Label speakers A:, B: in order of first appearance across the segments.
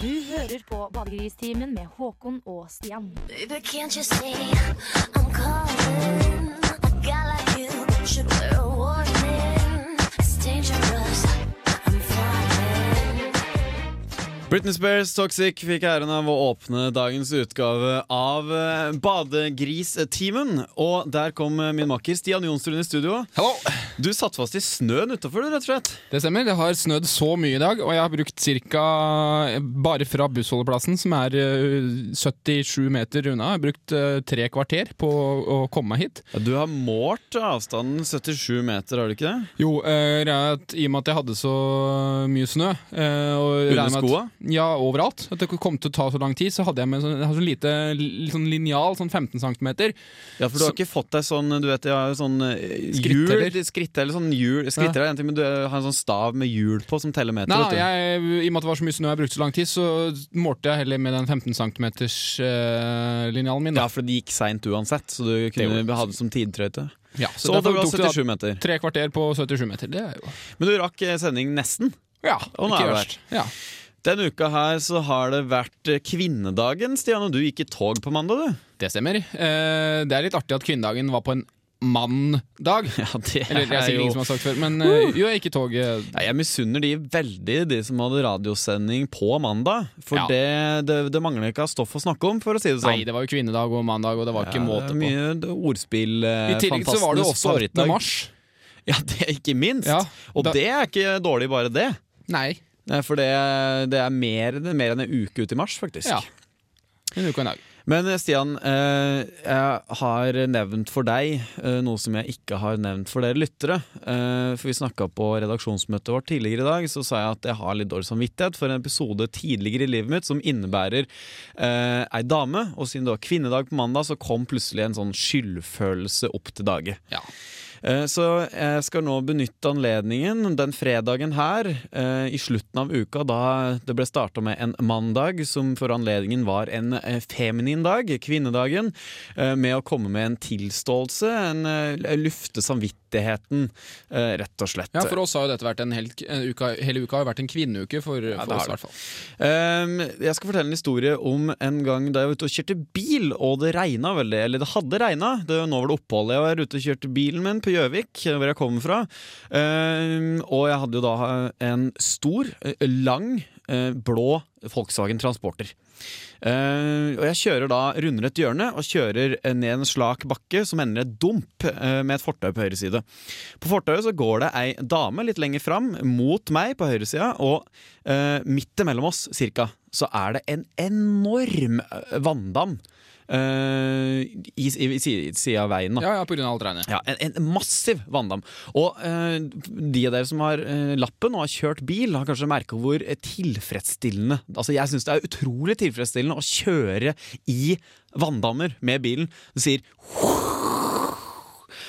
A: Du hører på Badegristimen med Håkon og Stian.
B: Baby, can't you see I'm calling? A guy like you should wear a warning. It's dangerous. I'm falling.
C: Britney Spears Toxic fikk æren av å åpne dagens utgave av eh, Badegristimen. Og der kom eh, min makker Stian Jonstrud i studio.
D: Hallo!
C: Du satt fast i snøen utafor, rett og slett.
D: Det stemmer. Det har snødd så mye i dag, og jeg har brukt ca. bare fra bussholdeplassen, som er øh, 77 meter unna, jeg har brukt øh, tre kvarter på å komme meg hit.
C: Ja, du har målt avstanden 77 meter, har du ikke det?
D: Jo, øh, greia er at i og med at jeg hadde så mye snø øh, og
C: Under
D: regner med at-
C: skoa?
D: Ja, overalt. At det kom til å ta så lang tid, så hadde jeg med sånn, jeg har sånn lite li- sånn linjal, sånn 15 cm.
C: Ja, For du har ikke fått deg sånn du vet, jeg har jo sånn eh, hjul
D: Skritteller.
C: Skritteller. Sånn hjul, skritter er en ting, men du har en sånn stav med hjul på som teller meter.
D: Nei,
C: vet du.
D: jeg, I og med at det var så mye snø og jeg brukte så lang tid, så målte jeg heller med den 15 cm-linjalen min.
C: Ja,
D: Da.
C: for det gikk seint uansett, så du
D: gjorde det.
C: kunne ha det som tidtrøyte.
D: Ja,
C: Så, det
D: derfor
C: var
D: tok det da
C: 77 meter.
D: Tre kvarter på 77 meter, det er jo
C: Men du rakk eh, sending nesten.
D: Ja,
C: Og nå
D: ikke
C: er vi
D: verst. Ja.
C: Denne uka her så har det vært eh, kvinnedagen, Stian, og du gikk i tog på mandag, du.
D: Det stemmer. Eh, det er litt artig at kvinnedagen var på en manndag.
C: Ja, det
D: Eller det er sikkert ingen som har sagt før, men eh, jo, jeg gikk i toget.
C: ja, Jeg misunner de veldig, de som hadde radiosending på mandag. For
D: Ja.
C: det, det, det mangler ikke av stoff å snakke om, for å si det
D: Nei,
C: sånn.
D: det var jo kvinnedag og mandag, og det var ikke måte
C: det er
D: på.
C: mye d- ordspill. eh,
D: I tillegg så var det jo
C: fantastenes
D: også 8.
C: favorittdag.
D: mars.
C: Ja, det er ikke minst.
D: Ja,
C: og
D: da-
C: det er ikke dårlig, bare det.
D: Nei.
C: Nei, For det, det er mer, det er mer enn en uke ut i mars, faktisk.
D: Ja. En uke og en dag.
C: Men eh, Stian, eh, jeg har nevnt for deg eh, noe som jeg ikke har nevnt for dere lyttere. Eh, for vi snakka på redaksjonsmøtet vårt tidligere i dag, så sa jeg at jeg har litt dårlig samvittighet for en episode tidligere i livet mitt som innebærer eh, ei dame. Og siden det var kvinnedag på mandag, så kom plutselig en sånn skyldfølelse opp til dage.
D: Ja.
C: Eh, Så jeg skal nå benytte anledningen den fredagen her, eh, i slutten av uka, da det ble starta med en mandag, som for anledningen var en eh, feminin dag, kvinnedagen, eh, med å komme med en tilståelse, en eh, lufte samvittigheten, eh, rett og slett.
D: ja, for oss har jo dette vært en hel, en uka, hele uka har jo vært en kvinneuke for,
C: det
D: for
C: har
D: oss, i
C: det.
D: hvert fall.
C: Ehm, jeg skal fortelle en historie om en gang da jeg var ute og kjørte bil, og det regna veldig. Eller det hadde regna. Det, nå var det opphold. Jeg var ute og kjørte bilen min på Gjøvik, hvor jeg kommer fra. Ehm, og jeg hadde jo da en stor, eh, lang, eh, blå Volkswagen Transporter. Ehm, og jeg kjører da runder et hjørne og kjører ned en slak bakke som ender i et dump eh, med et fortau på høyre side. På fortauet så går det ei dame litt lenger fram mot meg på høyresida, og eh, midt imellom oss cirka, så er det en enorm eh, vanndam eh, i, i, i sida av veien. Da.
D: Ja, ja, på grunn av alt regnet.
C: Ja, en, en massiv vanndam. Og eh, de av dere som har eh, lappen og har kjørt bil, har kanskje merka hvor eh, tilfredsstillende Altså, jeg syns det er utrolig tilfredsstillende å kjøre i vanndammer med bilen. Du sier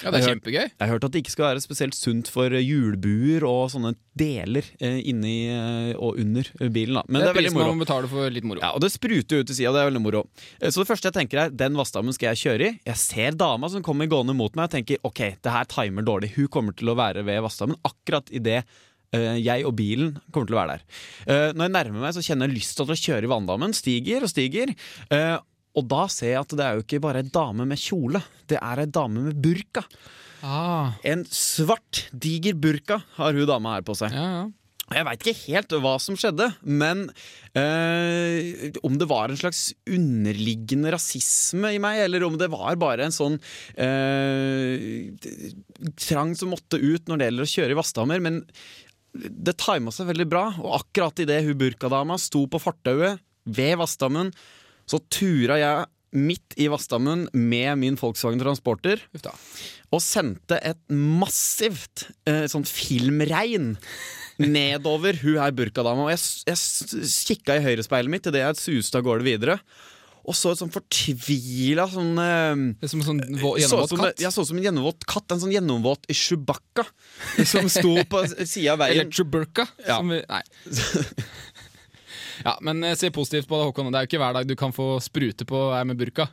D: Ja, det er kjempegøy.
C: Jeg har hørt at det ikke skal være spesielt sunt for eh, hjulbuer og sånne deler eh, inni eh, og under bilen, da. Men det er, veldig
D: prisen
C: moro.
D: man betaler for litt moro.
C: Ja, og det spruter jo ut til sida, det er veldig moro. Eh, Så det første jeg tenker er, den vassdammen skal jeg kjøre i. Jeg ser dama som kommer gående mot meg og tenker ok, det her timer dårlig. Hun kommer til å være ved vassdammen akkurat idet jeg og bilen kommer til å være der. Eh, Når jeg nærmer meg, så kjenner jeg lyst til å kjøre i vanndammen. Stiger og stiger. Eh, Og da ser jeg at det er jo ikke bare ei dame med kjole, det er ei dame med burka.
D: Ah,
C: En svart, diger burka har hun dama her på seg.
D: ja, ja.
C: Jeg veit ikke helt hva som skjedde, men eh, om det var en slags underliggende rasisme i meg, eller om det var bare en sånn eh, trang som måtte ut når det gjelder å kjøre i Vassdammer, men det tima seg veldig bra, og akkurat idet hun burkadama sto på fortauet ved Vassdammen, så tura jeg midt i Vassdammen med min Volkswagen Transporter
D: Uff da.
C: og sendte et massivt eh, sånn filmregn nedover hun her burkadama. Og jeg, s- jeg s- kikka i høyrespeilet mitt idet jeg suste av gårde videre. Og så et sånn fortvila sånn eh,
D: Det er som en sånn vå-
C: jeg så ut
D: gjennomvåt
C: som,
D: katt.
C: jeg så ut som en gjennomvåt katt. En sånn gjennomvåt Chewbacca som sto på sida av
D: Eller
C: veien.
D: Chewbacca.
C: Ja.
D: Som vi, nei. Ja, men eh, se positivt på det, Håkon. Det er jo ikke hver dag du kan få sprute på ei med burka.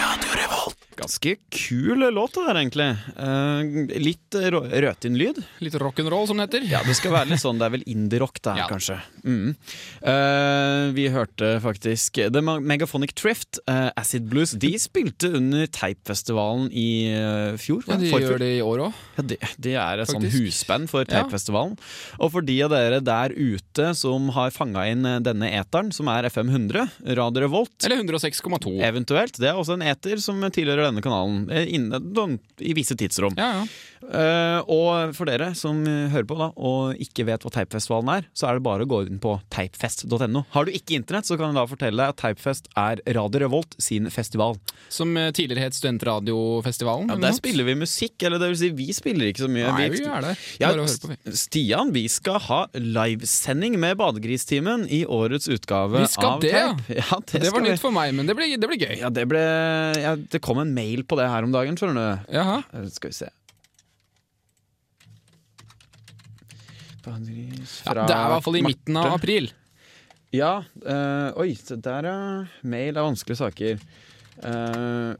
C: Radio Revolt. Ganske kul låt det der, egentlig. Eh, litt rå- rødtinnlyd.
D: Litt rock'n'roll, som det heter.
C: Ja, det skal være litt sånn, det er vel indie-rock det her,
D: Ja.
C: kanskje. Mm. Eh, vi hørte faktisk The Ma- Megaphonic Trift, eh, Acid Blues. De spilte under Teipfestivalen i eh, fjor.
D: Ja, de
C: forfjor.
D: gjør det i år òg.
C: Ja, det, det er et sånn
D: Faktisk.
C: husband for
D: Ja.
C: Teipfestivalen. Og for de av dere der ute som har fanga inn eh, denne eteren, som er FM 100, Radio Revolt
D: Eller 106,2. Ja,
C: Eventuelt. Det er også en eter som tilhører denne kanalen eh, innen- noen- i visse tidsrom.
D: ja.
C: Eh, og for dere som eh, hører på da og ikke vet hva Teipfestivalen er, så er det bare å gå inn på teipfest.no. Har du ikke internett, så kan jeg da fortelle deg at Teipfest er Radio Revolt sin festival.
D: Som eh, tidligere het Studentradiofestivalen.
C: Ja,
D: eller
C: der
D: noe.
C: spiller vi musikk, eller det vil si, vi spiller ikke så mye.
D: Nei, vi er der.
C: Ja,
D: Bare å høre på, vi.
C: Stian, vi skal ha livesending med Badegristime i årets utgave
D: Vi skal
C: av
D: det, ja.
C: Teip. Ja, det,
D: Det var
C: skal vi.
D: nytt for meg, men det blir, det blir gøy.
C: Ja, det ble ja, Det kom en mail på det her om dagen, skjønner du.
D: Jaha.
C: Eh, Skal vi se. Badegris
D: Ja,
C: fra
D: det er i hvert fall i
C: Marte.
D: midten av april.
C: Ja. eh, oi, se der, ja. Mail er vanskelige saker. Eh,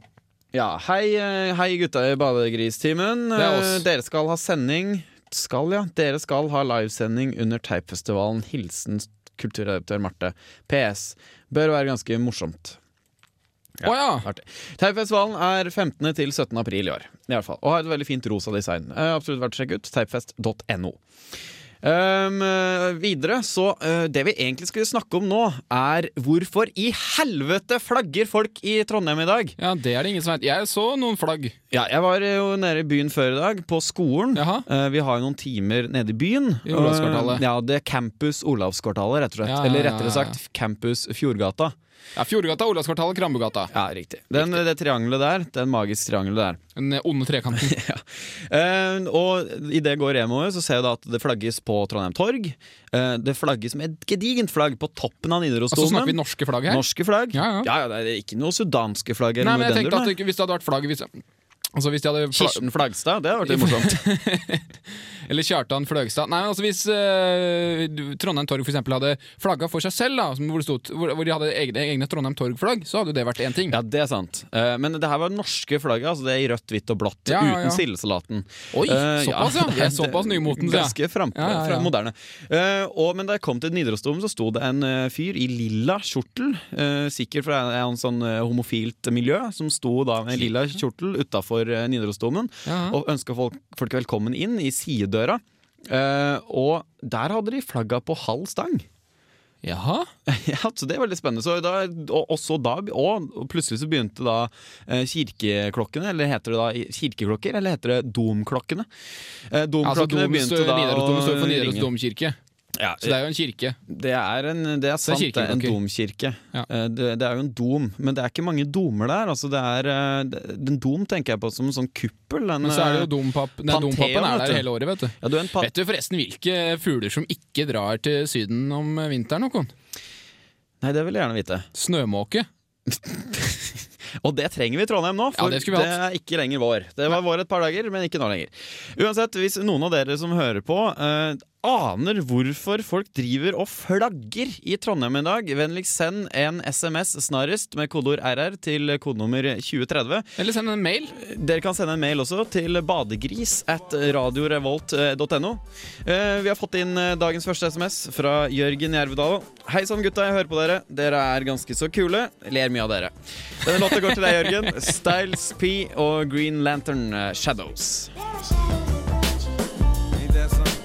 C: ja, hei, eh, hei gutta i badegristimen.
D: Det er oss.
C: Eh, dere skal ha sending Skal, ja. Dere skal ha livesending under Teipfestivalen. Hilsen kulturredaktør Marte. PS. Bør være ganske morsomt.
D: Å ja.
C: Artig. Teipfestivalen er 15. til 17. april i år, i alle fall, og har et veldig fint rosa design. Eh, absolutt verdt å sjekke ut. Teipfest.no. Um, eh, videre, så eh, Det vi egentlig skulle snakke om nå, er hvorfor i helvete flagger folk i Trondheim i dag?
D: ja, det er det ingen som vet. Jeg så noen flagg.
C: Ja, Jeg var jo nede i byen før i dag, på skolen.
D: Jaha.
C: Eh, vi har jo noen timer nede i byen.
D: I Olavskvartalet.
C: Eh, ja, det er Campus Olavskvartalet, rett og slett.
D: Ja, ja,
C: Eller
D: ja,
C: rettere
D: ja, ja.
C: sagt Campus Fjordgata.
D: Ja, Fjordgata, Olavskvartalet, Krambugata.
C: Ja, riktig. Den, det triangelet der, den magiske triangelet der.
D: Den onde trekanten.
C: Eh, og idet jeg går hjemover, så ser jeg da at det flagges på Trondheim Torg. Eh, det flagges med et gedigent flagg på toppen av
D: Og så snakker vi
C: Nidarosdomen.
D: norske flagg her.
C: Norske flagg.
D: Ja, ja.
C: det er ikke noe sudanske flagg.
D: Nei,
C: Eller noe
D: men jeg
C: den
D: tenkte at
C: duren,
D: det, ikke- hvis det hadde vært flagg hvis, Altså hvis de hadde
C: da.
D: fla-
C: Kirsten Flagstad, det hadde vært litt morsomt.
D: Eller Kjartan Fløgstad. Nei, men altså Hvis eh, du- Trondheim Torg for eksempel hadde flagga for seg selv, da, som hvor, det stod, hvor, hvor de hadde egne, egne Trondheim Torg-flagg, så hadde jo det vært én ting.
C: Ja, det er sant. Eh, men det her var det norske flagget, altså det i rødt, hvitt og blått.
D: Ja, ja, ja.
C: Uten sildesalaten.
D: Oi,
C: Eh,
D: såpass, ja. Vi er såpass nymotens, ja.
C: Ganske frampå,
D: Ja, ja, ja.
C: fra moderne. Eh, og, men da jeg kom til Nidarosdomen, så sto det en eh, fyr i lilla kjortel, eh, sikkert fra en, en sånn eh, homofilt miljø, som sto da med en lilla kjortel utafor uh, Nidarosdomen
D: Ja.
C: og ønska folk, folk velkommen inn i sidedøra. Eh, og der hadde de flagga på halv stang.
D: Jaha?
C: Ja, så det er veldig spennende. Så da, og, og så da, og, og plutselig så begynte da eh, kirkeklokkene, eller heter det da kirkeklokker, eller heter det domklokkene? Eh,
D: Altså,
C: domklokkene
D: Doms-
C: begynte da
D: Nidarosdomen står for
C: å
D: Nidaros
C: ringe.
D: domkirke,
C: Ja,
D: så det er jo en kirke.
C: det er, en, det er sant, det er en
D: kirkeklokker.
C: domkirke.
D: Ja.
C: Eh, Det, det er jo en dom, men det er ikke mange domer der. Altså, det er, eh, det- den dom tenker jeg på som en sånn kuppel. Den,
D: Men så er det
C: eh,
D: jo dompap, nei,
C: Pantheon,
D: dompapen er
C: vet
D: der
C: du.
D: hele året, vet du.
C: ja, du er en pa
D: Vet du forresten hvilke fugler som ikke drar til Syden om eh, vinteren? Håkon?
C: Nei, det vil jeg gjerne vite.
D: Snømåke.
C: Og det trenger vi i Trondheim nå,
D: Ja,
C: for
D: det
C: det,
D: skulle vi hatt.
C: er ikke lenger vår. Det var vår et par dager, men ikke nå lenger. Uansett, hvis noen av dere som hører på eh, aner hvorfor folk driver og flagger i Trondheim i dag, vennligst send en SMS snarest med kodeord RR til kodenummer 2030.
D: Eller send en mail.
C: Dere kan sende en mail også til badegris at radiorevolt.no. Eh, Vi har fått inn eh, dagens første SMS fra Jørgen Jervedal. Hei sann, gutta. Jeg hører på dere. Dere er ganske så kule. Ler mye av dere. Denne låta går til deg, Jørgen. Styles P og Green Lantern eh, Shadows.
E: Ain't that something?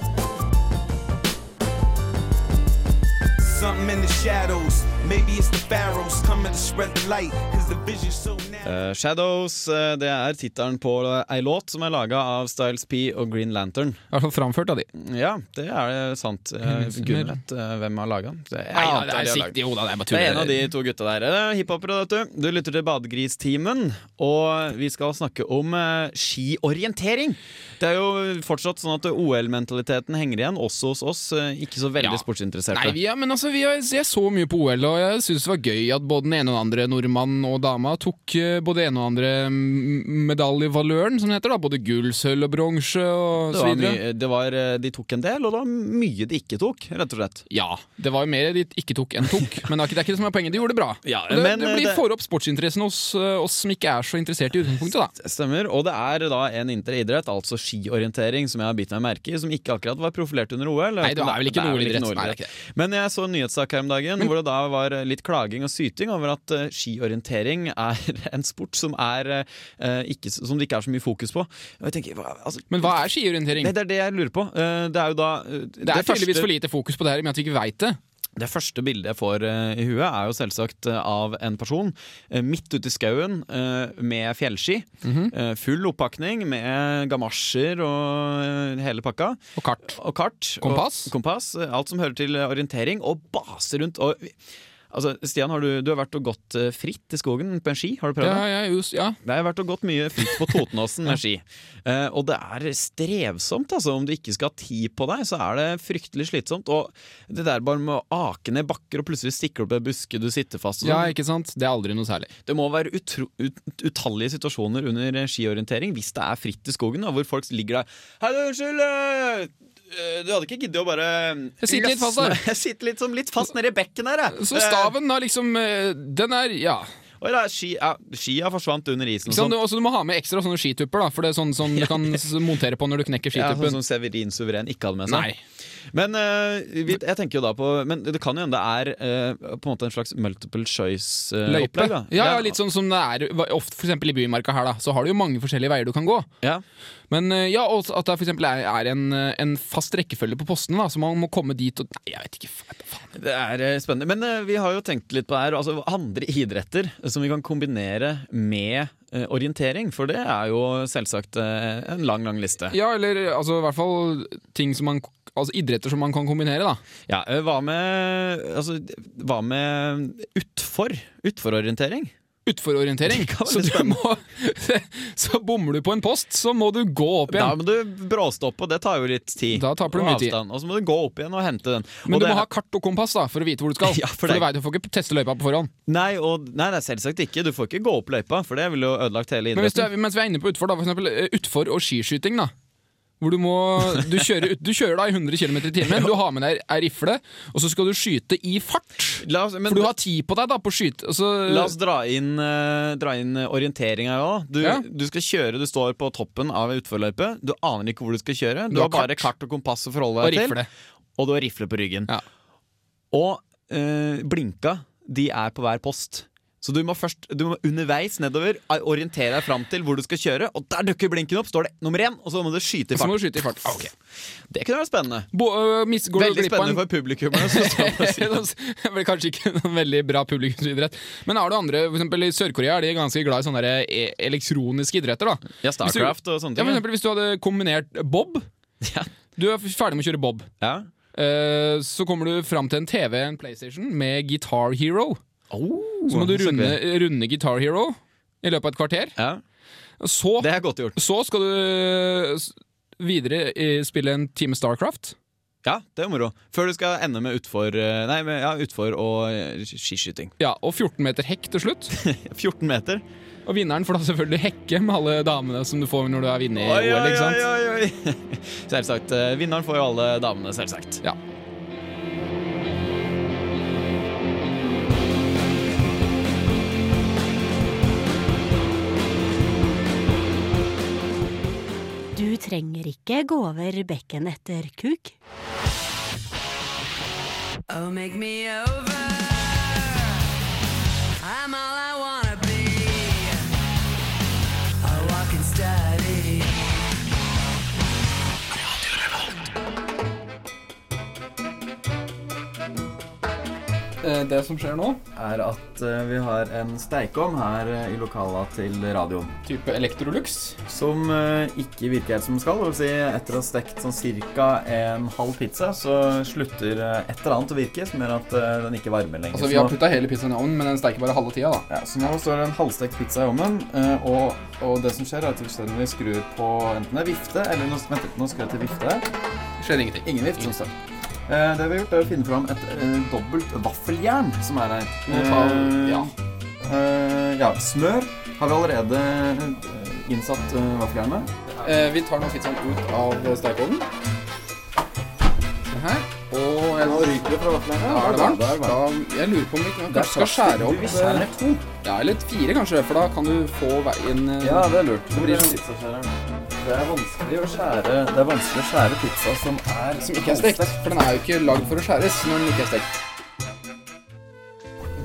E: Something in the shadows. Maybe it's the pharaohs coming to spread the light. Cause the vision's so narrow.
C: Eh, Shadows eh, det er tittelen på eh, ei låt som er laga av Styles P og Green Lantern.
D: I hvert fall framført av de.
C: Ja, det er det sant. Eh, Gunnar vet eh, hvem har laga den. Det er,
D: Nei, ja, det
C: antar de
D: er
C: har laget
D: sikkert- jo da, det er bare
C: Det er en
D: tull.
C: av de to gutta der. Det er Hiphopere, vet du. Du lytter til Badegristimen, og vi skal snakke om eh, skiorientering. Det er jo fortsatt sånn at OL-mentaliteten henger igjen, også hos oss eh, ikke så veldig
D: Ja.
C: sportsinteresserte.
D: Nei, vi er, men altså, vi er, jeg så mye på OL, og jeg syns det var gøy at både den ene og den andre nordmannen og dama tok eh, både den ene og den andre mm, medaljevaløren, som det heter. da Både gull, sølv og bronse og
C: Det
D: så
C: var
D: videre.
C: mye, det var, eh, de tok en del, og det var mye de ikke tok, rett og slett.
D: Ja. Det var jo mer de ikke tok enn tok, men det er ikke det, er ikke det som er poenget. De gjorde det bra.
C: Ja,
D: og det,
C: men,
D: det
C: eh,
D: blir
C: det-
D: får opp sportsinteressen hos eh, oss som ikke er så interessert i utgangspunktet, da.
C: Stemmer. Og det er da en interidrett, altså skiorientering, som jeg har bitt meg merke i, som ikke akkurat var profilert under OL.
D: Nei, det er vel ikke
C: Det
D: noe idrett.
C: noe
D: Nei, det Mm. er ikke
C: Men jeg så en nyhetssak her om dagen hvor det da var litt klaging og syting over at eh, skiorientering er en sport som, er, eh, ikke, som det ikke er så mye fokus på. Og jeg tenker, hva, altså,
D: Men hva er skiorientering?
C: Nei, det er det jeg lurer på. Eh, Det er jo da eh,
D: Det er tydeligvis
C: første-
D: for lite fokus på det her, men at vi ikke veit det.
C: det første bildet jeg får eh, i huet, er jo selvsagt eh, av en person eh, midt ute i skauen eh, med fjellski.
D: Mhm.
C: eh, full oppakning med gamasjer og eh, hele pakka.
D: Og kart.
C: Og kart.
D: Kompass.
C: Og, kompass eh, alt som hører til eh, orientering. Og base rundt. Og, altså, Stian, har du, du har vært og gått eh, fritt i skogen på en ski? Har du prøvd
D: Ja,
C: det?
D: ja, just, ja.
C: Det har vært og gått mye fritt på Totenåsen med ski. Eh, og det er strevsomt, altså. Om du ikke skal ha tid på deg, så er det fryktelig slitsomt. Og det der bare med å ake ned bakker og plutselig stikke opp en buske du sitter fast og
D: ja,
C: sånn.
D: ikke sant? Det er aldri noe særlig.
C: Det må være utro ut utallige situasjoner under skiorientering, hvis det er fritt i skogen, da, hvor folk ligger der Hei, du, unnskyld! eh, eh, Du hadde ikke giddet å bare
D: Jeg sitter litt fast
C: løsne-
D: her.
C: Jeg sitter litt, som, litt fast nede i bekken her, jeg.
D: Så staven har liksom eh, Den er Ja.
C: Eh, oi da, ski, ja, skia forsvant under isen.
D: Ikke
C: og
D: sant?
C: sånn.
D: Du, også, du må ha med ekstra sånne skitupper, da, for det er sånn som du kan s- montere på når du knekker
C: Ja, sånn
D: skituppen.
C: som Severin Suveren ikke hadde med seg.
D: Nei.
C: Men eh, vi, jeg tenker jo da på Men det kan jo hende det er eh, på en måte en slags multiple
D: Løype.
C: choice-opplegg.
D: Ja, ja, litt sånn som det er hva- ofte for eksempel i Bymarka her, da. Så har du jo mange forskjellige veier du kan gå.
C: Ja.
D: Men eh, ja, og at det for eksempel er, er en, eh, en fast rekkefølge på postene, da, så man må komme dit og Nei, jeg vet ikke. fa- Faen.
C: Det er eh, spennende. Men eh, vi har jo tenkt litt på det her. Altså, andre idretter som vi kan kombinere med eh, orientering. For det er jo selvsagt eh, en lang, lang liste.
D: Ja, eller altså i hvert fall ting som man Altså idretter som man kan kombinere, da.
C: Ja, eh, hva med altså, Hva med utfor? Utfororientering?
D: Utfororientering.
C: Det kan være
D: Så,
C: litt
D: du må, så bommer du på en post, så må du gå opp
C: Da
D: igjen.
C: må du bråstoppe, og det tar jo litt tid.
D: Da taper du
C: Og
D: mye tid.
C: avstand. Og så må du gå opp igjen og hente den.
D: Men
C: og
D: du
C: det
D: må ha kart og kompass da, for å vite hvor du skal.
C: Ja, for
D: for
C: det-
D: du vet, du får ikke teste løypa på forhånd.
C: Nei, og, nei, det er selvsagt ikke. Du får ikke gå opp løypa, for det ville jo ødelagt hele
D: Men hvis du,
C: idretten.
D: er- mens vi er inne på utfor, da, for eksempel eh, utfor og skiskyting, da. Hvor du må Du kjører, ut- du kjører da i 100 km i timen, du har med deg ei rifle, og så skal du skyte i fart!
C: La oss, men,
D: For du har tid på deg da på å skyte. og så-
C: la oss dra inn, uh, dra inn orienteringa òg. Du,
D: Ja.
C: du skal kjøre, du står på toppen av ei utforløype. Du aner ikke hvor du skal kjøre. Du,
D: Du har
C: har bare kart og kompass å forholde
D: og
C: deg til.
D: rifle.
C: Og du har rifle på ryggen.
D: Ja.
C: Og eh, blinka, de er på hver post. Så du må først du må underveis nedover eh, orientere deg fram til hvor du skal kjøre. Og der dukker blinken opp! Står det nummer én, og så må du skyte i
D: Så må du
C: fart.
D: skyte i fart. Ah, ok.
C: Det kunne vært spennende.
D: Bo, øh, miss, går du
C: Veldig
D: glipp av
C: spennende
D: en
C: for publikummerne. som står på siden.
D: Det blir kanskje ikke noen veldig bra publikumsidrett. Men har du andre, for eksempel i Sør-Korea er de ganske glad i sånne der, eh, elektroniske idretter. da
C: Ja, Starcraft og sånne
D: Ja,
C: ting.
D: for eksempel Hvis du hadde kombinert bob
C: Ja.
D: Du er f- ferdig med å kjøre bob.
C: Ja.
D: Eh, Så kommer du fram til en TV, en PlayStation, med Guitar Hero. Så må du
C: så
D: runde, runde Guitar Hero i løpet av et kvarter.
C: ja.
D: Så,
C: Det er godt gjort.
D: så skal du eh, s- videre eh, spille en time Starcraft.
C: Ja, det er moro. Før du skal ende med utfor, eh, nei, med, ja, utfor og eh, skiskyting.
D: Ja, Og 14 meter hekk til slutt.
C: 14 meter.
D: Og vinneren får da selvfølgelig hekke med alle damene som du får når du er vinner i
C: Oi,
D: OL.
C: oi,
D: ikke sant?
C: oi, oi, oi. Selvsagt. eh, Vinneren får jo alle damene, selvsagt.
D: Ja.
F: Du trenger ikke gå over bekken etter kuk.
G: Oh, make me over. I'm all I wanna be. A walking study.
D: Eh, Det som skjer nå,
C: Er at eh, vi har en steikovn her eh, i lokala til radioen.
D: type Electrolux
C: Som eh, ikke virker helt som den skal. Si, etter å ha stekt sånn ca. en halv pizza, så slutter eh, et eller annet å virke, som gjør at eh, den ikke varmer
D: Altså,
C: lenger.
D: putta hele pizzaen i ovnen, men den steiker bare halve tida, da.
C: Ja, så nå står det en halvstekt pizza i ovnen, eh, og, og det som skjer er at hvis vi skrur på enten det er vifte, eller noe som heter, nå skrur jeg til vifte,
D: Skjer ingenting.
C: ingen vift som står.
H: Eh, det vi har gjort, er å finne fram et eh, dobbelt vaffeljern som er her.
D: Må ta-
H: Eh,
D: ja.
H: eh, ja. Smør har vi allerede eh, innsatt eh, vaffeljernet.
D: Eh, vi tar den litt sånn ut av stekeovnen. Sånn her. Og jeg,
H: ryker det fra vaffeljernet.
D: da er det varmt. Da, jeg lurer på om vi kan- kanskje skal skjære
H: Du vil
D: opp
H: skjære
D: eh,
H: to.
D: Ja, eller fire, kanskje, for da kan du få veien eh,
H: Ja, det er lurt.
D: blir det-
H: Det er vanskelig å skjære Det er vanskelig å skjære pizza som er
D: som ikke er stekt. For den er jo ikke lagd for å skjæres når den ikke er stekt.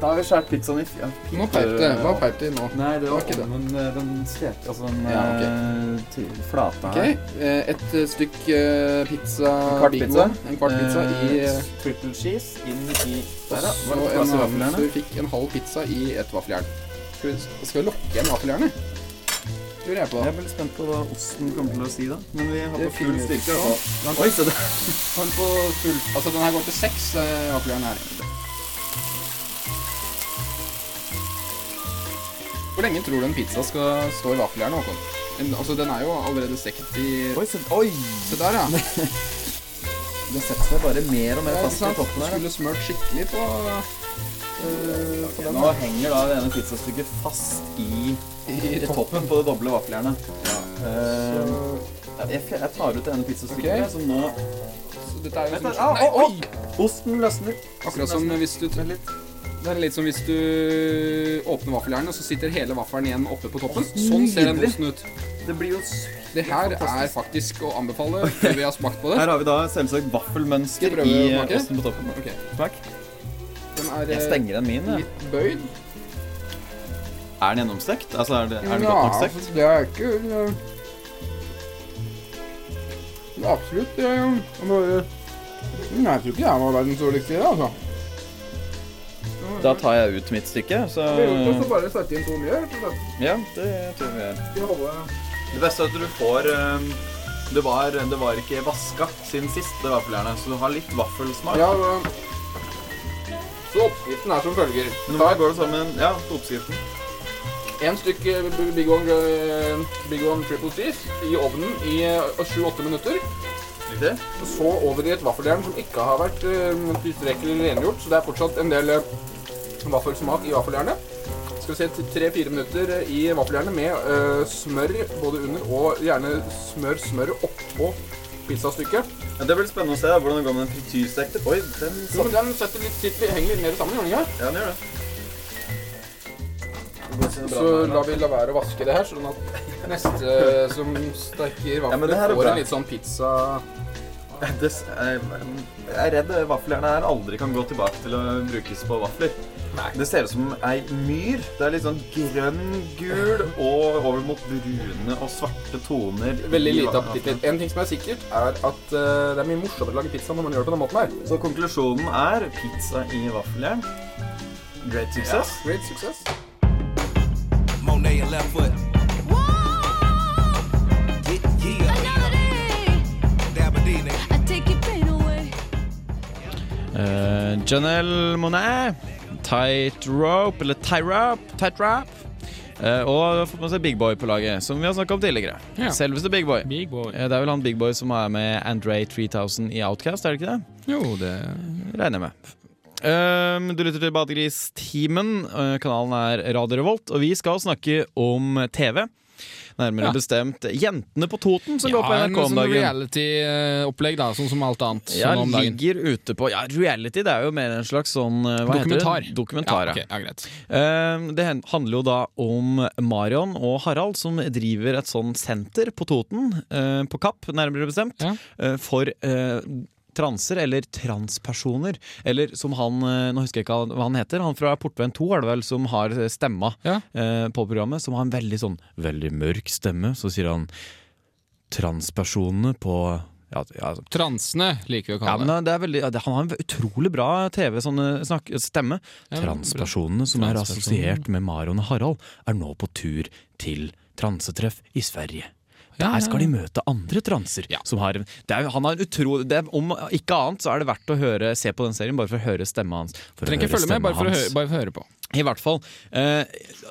H: Da har vi skjært pizzaen i fire.
D: Nå peip det. Hva peip det nå?
H: Nei, det var
D: Det var ikke
H: ikke
D: det.
H: den, den steke, altså den
D: Ja, ok.
H: eh, ty- flata
D: Ok, eh, Et eh, stykk eh, pizza
H: En kvart
D: Big
H: pizza.
D: One, En kvart pizza i
H: Eh,
D: eh,
H: Triple cheese inn i Der, ja.
D: Så
H: Var det
D: en
H: plass i
D: annen
H: vaffeljernet?
D: fyr fikk en halv pizza i et vaffeljern. Skal vi, skal vi lokke igjen vaffeljernet? Lurer jeg på.
H: Jeg er veldig spent på hva osten kommer til å si, da. Men vi har
D: Det
H: på full
D: finner vi
H: styrke.
D: ut av.
H: altså.
D: Den-
H: Oi, se der. Han på full
D: Altså, den her går til seks, eh, vaffeljernet her. Hvor lenge tror du en pizza skal stå i vaffeljernet, Håkon? En, altså, den er jo allerede stekt i
H: Oi, se Oi!
D: Se der, ja. Det
H: Det setter seg bare mer og mer
D: er ikke
H: fast i
D: sant? Du
H: toppen her.
D: skulle smørt skikkelig på, eh, på den.
H: Nå henger da det ene pizzastykket fast i, i toppen på det doble vaffeljernet. Eh, jeg, fj- jeg tar ut det ene pizzastykket,
D: Ok.
H: okay. så nå
D: Så dette er jo
H: Vent,
D: som-
H: au,
D: Nei,
H: au, au!
D: oi!
H: Osten løsner.
D: Akkurat som hvis du
H: Vent litt.
D: Det er litt som hvis du åpner vaffeljernet, og så sitter hele vaffelen igjen oppe på toppen. Sånn ser den osten ut.
H: Det blir jo s-
D: Det her er faktisk å anbefale før vi har smakt på det.
H: Her har vi da selvsagt
D: Skal jeg
H: vaffelmønster
D: prøve
H: i
D: å
H: eh,
D: smake?
H: osten på toppen.
D: Ok,
H: Smak.
D: Den er
H: Jeg
D: eh,
H: stenger den min. jeg.
D: litt bøyd.
H: Er den gjennomstekt? Altså, er, det, er den
D: Ja,
H: godt nok stekt?
D: Det er ikke eh, det er Absolutt. Det, er, eh, bare- Men jeg tror ikke jeg var verdens dårligste i det, altså.
H: Da tar jeg ut mitt stykke, så
D: Vi gjorde det, altså. så bare sette inn to nye. rett og slett.
H: Ja, det tror jeg vi gjør.
D: Skal holde-
H: Det beste er at du får eh, det var, det var ikke vaska siden sist, det vaffeljernet, så du har litt vaffelsmak.
D: Ja, det- så oppskriften er som følger.
H: Men nå går det sammen ja, på oppskriften.
D: En stykk eh, b- Big One, eh, Big One Triple Cheese i ovnen i eh, 7-8 minutter.
H: Riktig?
D: Og Så over i et vaffeljern som ikke har vært eh, tilstrekkelig rengjort, så det er fortsatt en del eh, vaffelsmak i vaffeljernet. Skal vi se til 3-4 minutter eh, i vaffeljernet med eh, smør både under og gjerne smør smøret oppå pizzastykket.
H: Ja, det blir spennende å se da, hvordan det går med den frityrstekte. Oi, den
D: Jo,
H: satt
D: men den setter litt, sitter, henger litt mer sammen, gjør den ikke?
H: Ja, den gjør det.
D: Så lar vi la være å vaske det her, sånn at neste som steker
H: Ja, men
D: vaffel
H: det her er
D: får
H: bra.
D: en litt sånn pizza...
H: Det s- Jeg jeg er redd vaffeljernet her aldri kan gå tilbake til å brukes på vafler. Det ser ut som ei myr. Det er litt sånn grønn, gul og over mot brune og svarte toner. i
D: Veldig lite
H: vaffeljernet.
D: appetitt. En ting som er sikkert, er at eh, det er mye morsommere å lage pizza når man gjør det på den måten her.
H: Så konklusjonen er pizza i vaffeljern. Great success.
D: Great success.
E: Monet and left foot. Yeah, yeah. Dabadine.
C: Eh, Janelle Monet, Tight Rope, eller Tyrope, Tight Rap. Eh, og har fått med seg Big Boy på laget, som vi har snakka om tidligere.
D: Ja.
C: Selveste Big Boy.
D: Big boy.
C: Eh, Det er vel han Big Boy som er med Andre 3000 i Outcast, er det ikke det?
D: Jo, det
C: Regner jeg med. Ehm, du lytter til Badegristimen. Eh, Kanalen er Radio Revolt, og vi skal snakke om TV. Nærmere
D: Ja.
C: bestemt Jentene på Toten, som går på
D: en
C: NRK om
D: sånn
C: dagen.
D: reality-opplegg, da, sånn som alt annet.
C: Ja,
D: sånn om dagen.
C: ligger ute på Ja, reality det er jo mer en slags sånn eh, hva
D: Dokumentar.
C: Heter det? Dokumentar, ja.
D: ok, ja, greit.
C: Eh, Det hen- handler jo da om Marion og Harald som driver et sånn senter på Toten, eh, på Kapp nærmere bestemt,
D: Ja.
C: eh, for eh, transer eller transpersoner. Eller som han, eh, nå husker jeg ikke hva han heter, han fra Portveien 2 er det vel, som har stemma
D: Ja.
C: eh, på programmet, som har en veldig sånn veldig mørk stemme. Så sier han transpersonene på ja, ja, altså
D: Transene liker vi å
C: ja,
D: kalle
C: men
D: det.
C: det er veldig, ja, det- han har en utrolig bra TV sånn, eh, snakk, stemme.
D: Ja, men-
C: Transpersonene som er assosiert med Marion og Harald, er nå på tur til transetreff i Sverige.
D: Ja, ja,
C: Der skal de møte andre transer.
D: Ja.
C: Som har, en- det er, han har en utro, det er, om ikke annet så er det verdt å høre, se på den serien bare for å høre stemma hans. For å
D: Trenger
C: høre
D: ikke følge med,
C: stemma
D: bare for, å
C: hans.
D: høre, bare for å høre på.
C: I hvert fall. Eh,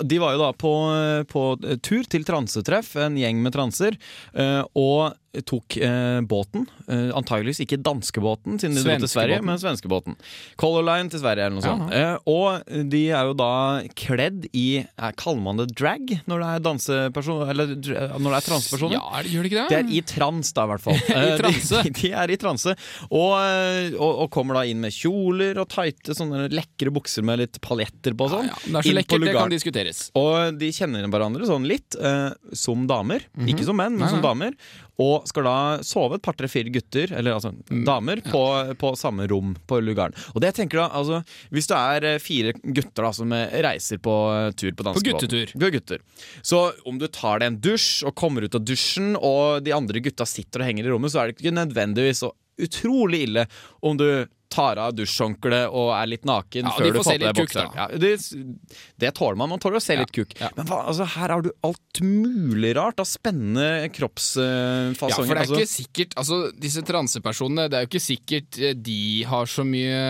C: de var jo da på, på tur til transetreff, en gjeng med transer. Eh, og tok eh, båten. Eh, antageligvis ikke danskebåten, siden de dro til Sverige,
I: Svenskebåten.
C: men svenskebåten. Color Line til Sverige, eller noe
I: Ja.
C: sånt. Eh, og de er jo da kledd i eh, Kaller man det drag når det er danseperson... Eller dr- eh, når det er transpersoner?
I: Ja, er det- gjør det ikke det?
C: Det er i trans, da, i hvert fall. Eh,
I: transe.
C: De, de er i transe. Og, eh, og, og kommer da inn med kjoler og tighte, sånne lekre bukser med litt paljetter på og sånn.
I: ja, men det er så
C: Inn på
I: lekkert, det
C: lugaren.
I: kan diskuteres.
C: Og de kjenner hverandre sånn litt, eh, som damer. Ikke som menn, men
I: Mhm. Nei,
C: som
I: nei.
C: damer. Og skal da sove et par-tre-fire gutter, eller altså
I: Mm.
C: damer, på, på samme rom på lugaren. Og det jeg tenker da, altså Hvis det er eh, fire gutter da som eh, reiser på eh, tur på danskebåten
I: guttetur.
C: På gutter. Så om du tar deg en dusj og kommer ut av dusjen, og de andre gutta sitter og henger i rommet, så er det ikke nødvendigvis så utrolig ille om du tar av dusjhåndkleet og er litt naken
I: Ja, de
C: før du
I: får
C: får
I: se
C: på deg
I: litt kukk, da.
C: bokseren. Ja, det, det tåler man. Man tåler å se litt kukk.
I: ja.
C: Men hva, altså, her har du alt mulig rart av spennende
I: Ja, for
C: kroppsfasonger.
I: det er
C: altså.
I: ikke sikkert Altså, disse transepersonene, det er jo ikke sikkert eh, de har så mye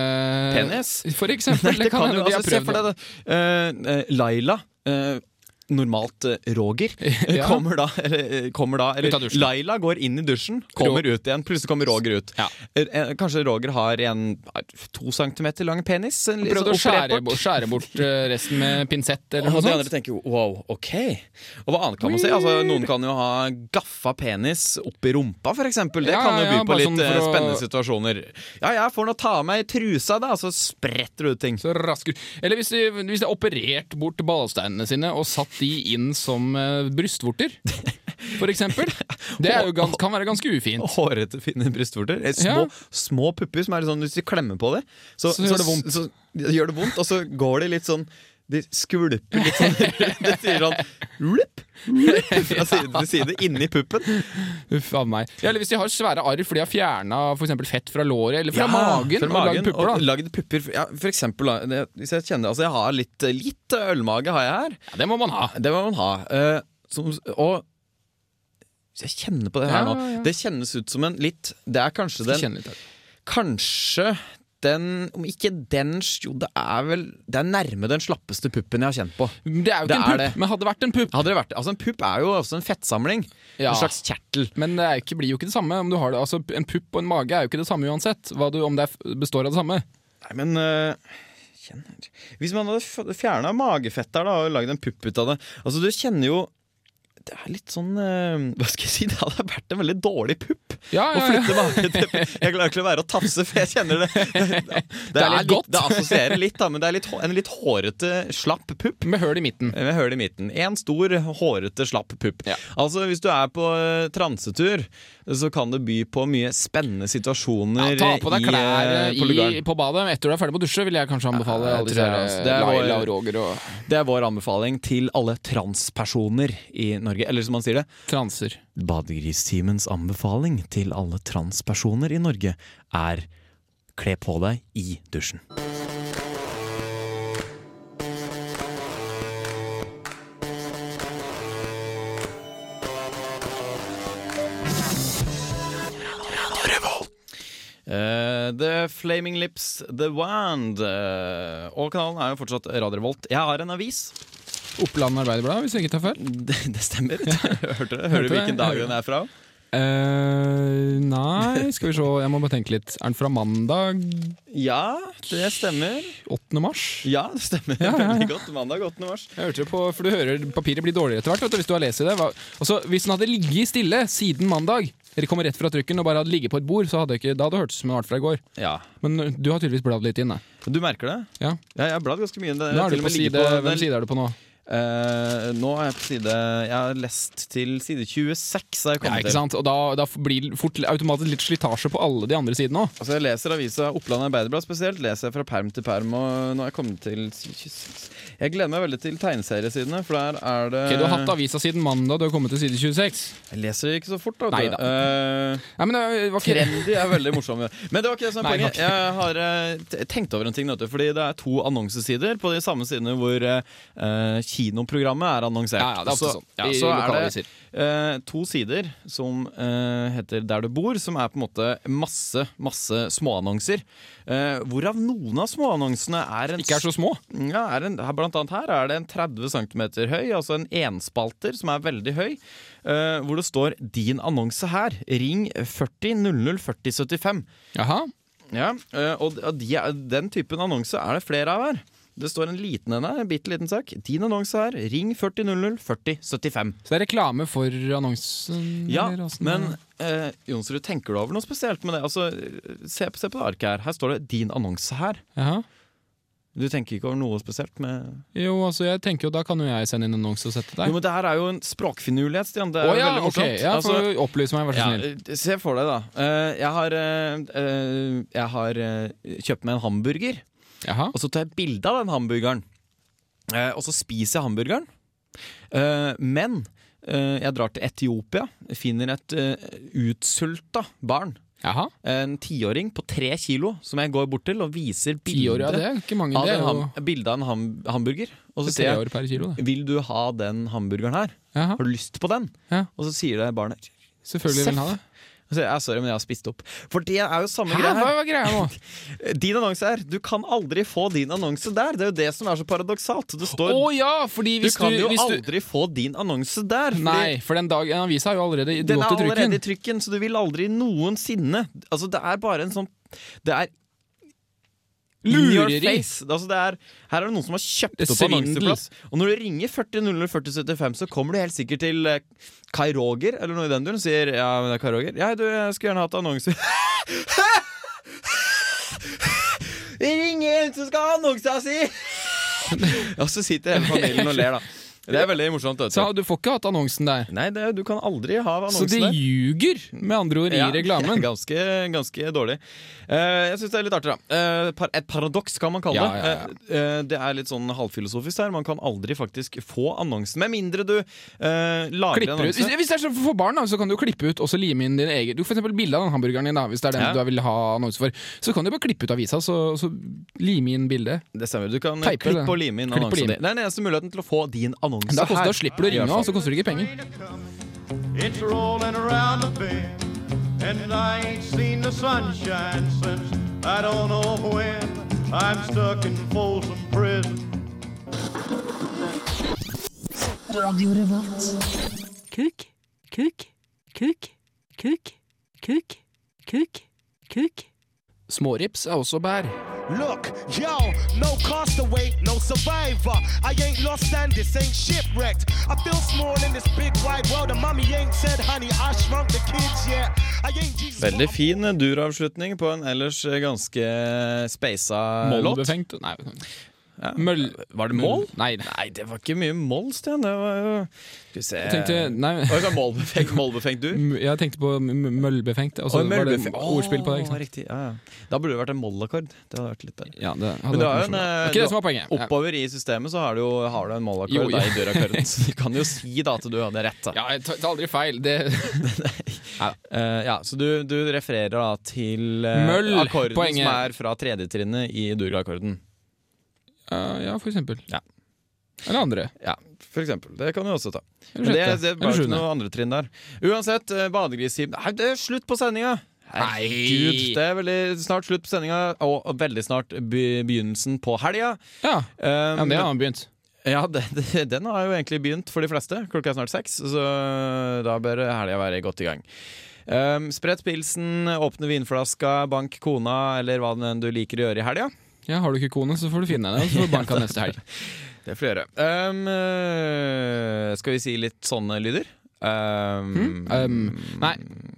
C: Penis?
I: For eksempel.
C: Nei, det kan
I: hende
C: jo,
I: de har
C: altså, se
I: prøvd
C: for deg det. Eh, eh, Laila. eh, Normalt eh, Roger eh,
I: Ja.
C: kommer da, eller, eh, kommer da
I: Ut av
C: eller,
I: dusjen.
C: Laila går inn i dusjen, kommer ut igjen. Plutselig kommer Roger ut.
I: Ja.
C: Eh, eh, Kanskje Roger har en eh, to centimeter lang penis? en litt
I: Prøvd å
C: sånn
I: skjære
C: operert bort.
I: bort, skjære bort eh, resten med pinsett eller
C: Og
I: noe
C: de
I: sånt.
C: andre tenker jo wow, ok. Og hva annet kan man si? Altså, noen kan jo ha gaffa penis opp i rumpa, for eksempel. Det
I: Ja,
C: kan jo
I: ja,
C: by
I: ja,
C: på
I: bare
C: litt
I: sånn for
C: eh,
I: å-
C: spennende situasjoner. Ja, jeg får nå ta av meg trusa, da, så spretter det ut ting.
I: Så rasker. Eller hvis de, hvis de har operert bort ballsteinene sine og satt de inn som eh, brystvorter, for eksempel. Det er jo gans, kan være ganske ufint.
C: Hårete, fine brystvorter. Eh, Små,
I: Ja.
C: små pupper som er litt sånn hvis du klemmer på det, så,
I: Så
C: så,
I: gjør
C: det
I: det
C: så, gjør det vondt, og så går det litt sånn de skvulper litt sånn Det sier sånn Lup, lup, fra side til side inni puppen.
I: Uff a meg. Ja, eller hvis de har svære arr fordi de har fjerna fett fra låret eller fra
C: Ja,
I: magen.
C: fra
I: og
C: magen,
I: lagd pupper, da.
C: og lagd pupper. Ja, for eksempel, da, det, hvis jeg kjenner Altså, jeg har litt, litt ølmage har jeg her.
I: Ja, det må man ha.
C: Det må man ha. Eh, som, og så jeg kjenner på det her
I: Ja,
C: nå.
I: ja.
C: Det kjennes ut som en litt Det er kanskje
I: Skal
C: den
I: kjenne litt her.
C: Kanskje den Om ikke den Jo, det er vel Det er nærme den slappeste puppen jeg har kjent på.
I: Det er jo
C: Det
I: ikke en
C: er
I: pupp,
C: det.
I: men hadde det vært en pupp
C: Hadde det vært Altså, en pupp er jo også en fettsamling.
I: Ja.
C: En slags kjertel.
I: Men det er ikke, blir jo ikke det samme om du har det. Altså, en pupp og en mage er jo ikke det samme uansett. Hva du, om det er, består av det samme.
C: Nei, men øh, kjenner. Hvis man hadde fjerna magefett her da, og lagd en pupp ut av det Altså, Du kjenner jo Det er litt sånn øh, Hva skal jeg si? Det hadde vært en veldig dårlig pupp
I: Ja,
C: å
I: ja, ja.
C: flytte mage til Jeg klarer ikke å være å tafse, for jeg kjenner det. Det, det,
I: er litt godt.
C: Det assosierer litt, da, men det er litt, hå- en litt hårete, slapp pupp. Eh,
I: Med høl i midten.
C: Med høl i midten. Én stor, hårete, slapp pupp.
I: Ja.
C: Altså, Hvis du er på eh, transetur, så kan det by på mye spennende
I: Ja,
C: situasjoner
I: ta på deg
C: eh,
I: klær
C: i, eh, på lugaren.
I: i, på badet etter du er ferdig med å dusje, vil jeg kanskje anbefale
C: Ja, jeg
I: alle
C: tror jeg
I: disse her,
C: også. Det er vår-
I: Laila og Roger og
C: Det er vår anbefaling til alle transpersoner i Norge. Eller som man sier det,
I: transer.
C: Badegristimens anbefaling til alle transpersoner i Norge er kle på deg i dusjen. Eh, The Flaming Lips, The Wand. eh, og kanalen er jo fortsatt Radio Revolt. Jeg har en avis.
I: Oppland Arbeiderblad, hvis jeg ikke tar feil.
C: Det, det stemmer. Hørte dere? Hører
I: Hørte
C: du hvilken
I: det?
C: dag
I: Hører
C: den er fra?
I: eh nei, skal vi se, jeg må bare tenke litt. Er den fra mandag
C: Ja, det stemmer.
I: 8. mars?
C: Ja, det stemmer.
I: Ja, ja, ja.
C: Veldig godt. Mandag 8. mars.
I: Jeg hørte det på, for du hører papiret blir dårligere etter hvert vet du, hvis du har lest i det. Hva- Altså, hvis den hadde ligget stille siden mandag, eller kommer rett fra trykken og bare hadde ligget på et bord, så hadde jeg ikke, da hadde det hørtes ut som den var fra i går.
C: Ja.
I: Men eh, du har tydeligvis bladd litt inn, da.
C: Du merker det?
I: Ja.
C: Ja, jeg har bladd ganske mye. Det,
I: Nå er
C: til og
I: du på
C: med ligger
I: side,
C: på-
I: hvem side er du på nå?
C: Eh, nå er jeg på side Jeg har lest til side 26. Har jeg
I: Ja,
C: kommet
I: ikke sant? Og da, da blir det fort automatisk litt slitasje på alle de andre sidene òg.
C: til. Altså, jeg leser avisa Oppland Arbeiderblad spesielt. Leser jeg fra perm til perm. Og nå er jeg kommet til side 26. Jeg gleder meg veldig til tegneseriesidene, for der er det
I: du har hatt avisa siden mandag, du har kommet til side 26.
C: Jeg leser ikke så fort, da.
I: Nei
C: vet du. Eh,
I: Nei, men det var ikke
C: Trendy er veldig morsomme. Men det var ikke det som var
I: Nei,
C: poenget. Jeg har eh, t- tenkt over en ting, vet du, fordi det er to annonsesider på de samme sidene hvor eh, eh, kinoprogrammet er annonsert.
I: Ja, ja, det er ofte
C: Så-
I: sånn.
C: Ja,
I: I
C: så er
I: lokalaviser.
C: det eh, to sider som eh, heter Der du bor, som er på en måte masse, masse småannonser. Eh, hvorav noen av småannonsene er en
I: Ikke er så små.
C: ja, er en, her, blant annet her er det en 30 cm høy, altså en enspalter som er veldig høy, eh, hvor det står 'Din annonse her'. Ring 40 00 40 75.
I: Jaha.
C: Ja, eh, og d- og de, er- den typen annonse er det flere av her. Det står en liten en her, en bitte liten sak. 'Din annonse her. Ring 40 00 40 75'.
I: Så det er reklame for annonsen?
C: Ja,
I: eller åssen
C: men
I: det-
C: eh, Jonsrud, tenker du over noe spesielt med det? Altså, se, på- se på det arket her. Her står det 'Din annonse her'.
I: Jaha.
C: Du tenker ikke over noe spesielt med
I: Jo, altså, jeg tenker jo da kan jo jeg sende inn annonse og sette
C: Jo,
I: deg.
C: men det her er jo en språkfinurlighet, Stian. Det er
I: Å
C: jo
I: ja,
C: veldig
I: ok.
C: morsomt.
I: Ja,
C: Altså,
I: for Opplys meg, vær så
C: ja,
I: snill.
C: eh, se for deg, da. Eh, jeg har, eh, eh, jeg har eh, kjøpt meg en hamburger,
I: Jaha.
C: og så tar jeg bilde av den hamburgeren. Eh, og så spiser jeg hamburgeren. Eh, men eh, jeg drar til Etiopia, finner et uh, utsulta barn. eh,
I: Jaha.
C: En tiåring på tre kilo som jeg går bort til og viser
I: Ti år,
C: bilde
I: ja. Det er ikke mange.
C: av,
I: Det
C: en
I: er
C: ham,
I: jo
C: bilde av en ham, hamburger. Og så
I: tre
C: sier jeg
I: år per kilo, det.
C: vil du ha den hamburgeren her?
I: Jaha.
C: Har du lyst på den?
I: Ja.
C: Og så sier det barnet
I: Selvfølgelig vil han ha det.
C: Og så sier jeg, sorry, men jeg har spist opp. For det er jo samme
I: Hæ,
C: greia
I: hva
C: her.
I: var greia nå?
C: Din annonse er Du kan aldri få din annonse der. Det er jo det som er så paradoksalt. Det
I: Å
C: står
I: ja, fordi
C: Du
I: hvis du,
C: kan jo
I: hvis du
C: aldri få din annonse der. fordi
I: Nei, for den dag, en avis har jo allerede
C: Den er
I: gått i trykken.
C: allerede i trykken, så du vil aldri noensinne Altså, det er bare en sånn Det er in your
I: Lureri.
C: face. Altså, det er, her er det noen som har kjøpt
I: Det er
C: opp
I: svindel.
C: annonseplass. Og når du ringer 40004075, så kommer du helt sikkert til eh, Kai Roger eller noe i den duren og sier Ja, men det er Kai Roger. Ja, du, jeg skulle gjerne hatt annonse. Ring en som skal ha annonsa si! og så sitter hele familien og ler, da. Det er veldig morsomt. vet du.
I: Så du får ikke hatt annonsen der.
C: Nei, det, du kan aldri ha
I: Så
C: annonsen
I: de
C: der.
I: ljuger, med andre ord, i
C: Ja,
I: reklamen.
C: Ganske, ganske dårlig. Eh, jeg syns det er litt artig, da. Eh, par, et paradoks kan man kalle
I: Ja,
C: det.
I: ja, ja.
C: Eh, eh, det er litt sånn halvfilosofisk der. Man kan aldri faktisk få annonsen. Med mindre du eh, lager en
I: Klipper ut. Hvis,
C: annonse.
I: hvis det er sånn for barn, da, så kan du jo klippe ut og så lime inn din egen Du får for eksempel bilde av den hamburgeren din, da, hvis det er den
C: Ja.
I: du vil ha annonse for. Så kan du bare klippe ut avisa, så, så lime inn bildet.
C: Det stemmer. Du kan
I: Teiper
C: klippe
I: det.
C: og lime inn
I: Klipp og
C: annonsen
I: lim.
C: din. Det er den eneste muligheten til å få din annonse
I: Da, koster,
C: her.
I: da slipper du å
C: I hvert
I: ringe,
C: fall.
I: og så koster det ikke penger.
E: It's rolling around the bend, and I ain't seen the sunshine since I don't know when. I'm stuck in Folsom Prison.
F: Kuk, kuk, kuk, kuk, kuk, kuk, kuk.
I: Smårips er også bær.
C: Eh,
E: Look, yo, no castaway, no survivor. I ain't lost and this ain't shipwrecked. I feel small in this big wide world, and mommy ain't said, honey, I shrunk the kids yet. I ain't Jesus.
C: Veldig fin duravslutning på en ellers eh, ganske speisa låt.
I: Mollbefengt Nei. Møll...
C: Var det mål?
I: Nei.
C: Nei, det var ikke mye moll, Stian. Det var jo Skal vi se
I: Jeg tenkte, nei,
C: Oi, det var målbefengt, målbefengt du?
I: m- jeg tenkte på m- m- møllbefengt, og så
C: Oi,
I: var det
C: møllbefe-
I: ordspill på det. Ikke
C: Åh,
I: sant?
C: riktig. Ja, ja. Da burde det vært en mollakkord. Det hadde vært litt der.
I: Ja, det hadde
C: Men det
I: vært
C: er jo en,
I: morsomt. Det
C: eh,
I: er ikke det som var poenget. Nei.
C: Oppover i systemet så har du, jo- har du en
I: Jo,
C: mollakkord
I: ja.
C: da, i dørakkorden. Så du kan jo si da at du hadde rett. Da.
I: Ja, jeg tar tar aldri feil. Det,
C: Eh, ja, så du, du refererer da til eh,
I: Møll,
C: akkorden
I: poenget.
C: som er fra tredjetrinnet i duraakkorden.
I: Ja, ja, for eksempel.
C: Ja.
I: Eller andre.
C: Ja, for eksempel. Det kan du også ta.
I: Eller
C: Men det,
I: sjette.
C: det var
I: Eller
C: ikke
I: sjuende.
C: noe andre trinn der. Uansett, eh, badegristimen Nei, det er slutt på sendinga!
I: Nei.
C: Herregud, det er veldig snart slutt på sendinga, og og veldig snart be- begynnelsen på helga.
I: Ja,
C: Um,
I: ja det har han begynt.
C: Ja, det, det, den har jo egentlig begynt for de fleste. Klokka er snart seks, så da bør helga være godt i gang. Um, Sprett pilsen, åpne vinflaska, bank kona, eller hva det enn du liker å gjøre i helga.
I: Ja, Har du ikke kone, så får du finne henne, og så får du banka neste helg.
C: Det får du gjøre. Um, øh, skal vi si litt sånne lyder? Um,
I: Um, nei,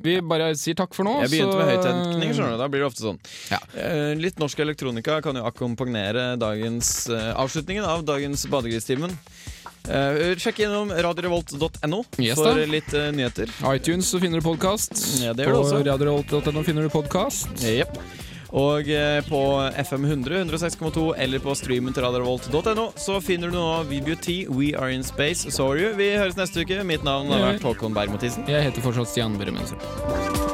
I: vi bare sier takk for nå.
C: jeg begynte med
I: så- eh,
C: høyttenkning, skjønner du. Da blir det ofte sånn.
I: Ja.
C: Eh, litt norsk elektronika kan jo akkompagnere dagens, eh, avslutningen av dagens Badegristimen. Eh, sjekk innom radiorevolt.no
I: Yes,
C: for
I: da.
C: litt eh, nyheter.
I: iTunes så finner du podkast.
C: Ja, det gjør
I: På
C: du også.
I: radiorevolt.no finner du podkast.
C: Jepp. Og eh, på FM 100, 106,2 eller på streamen til radiorevolt.no så finner du nå Vibio T, We Are In Space, Sorry. Vi høres neste uke. Mitt navn har vært Håkon Berg-Mathisen.
I: Jeg heter fortsatt Stian Børre Mønster.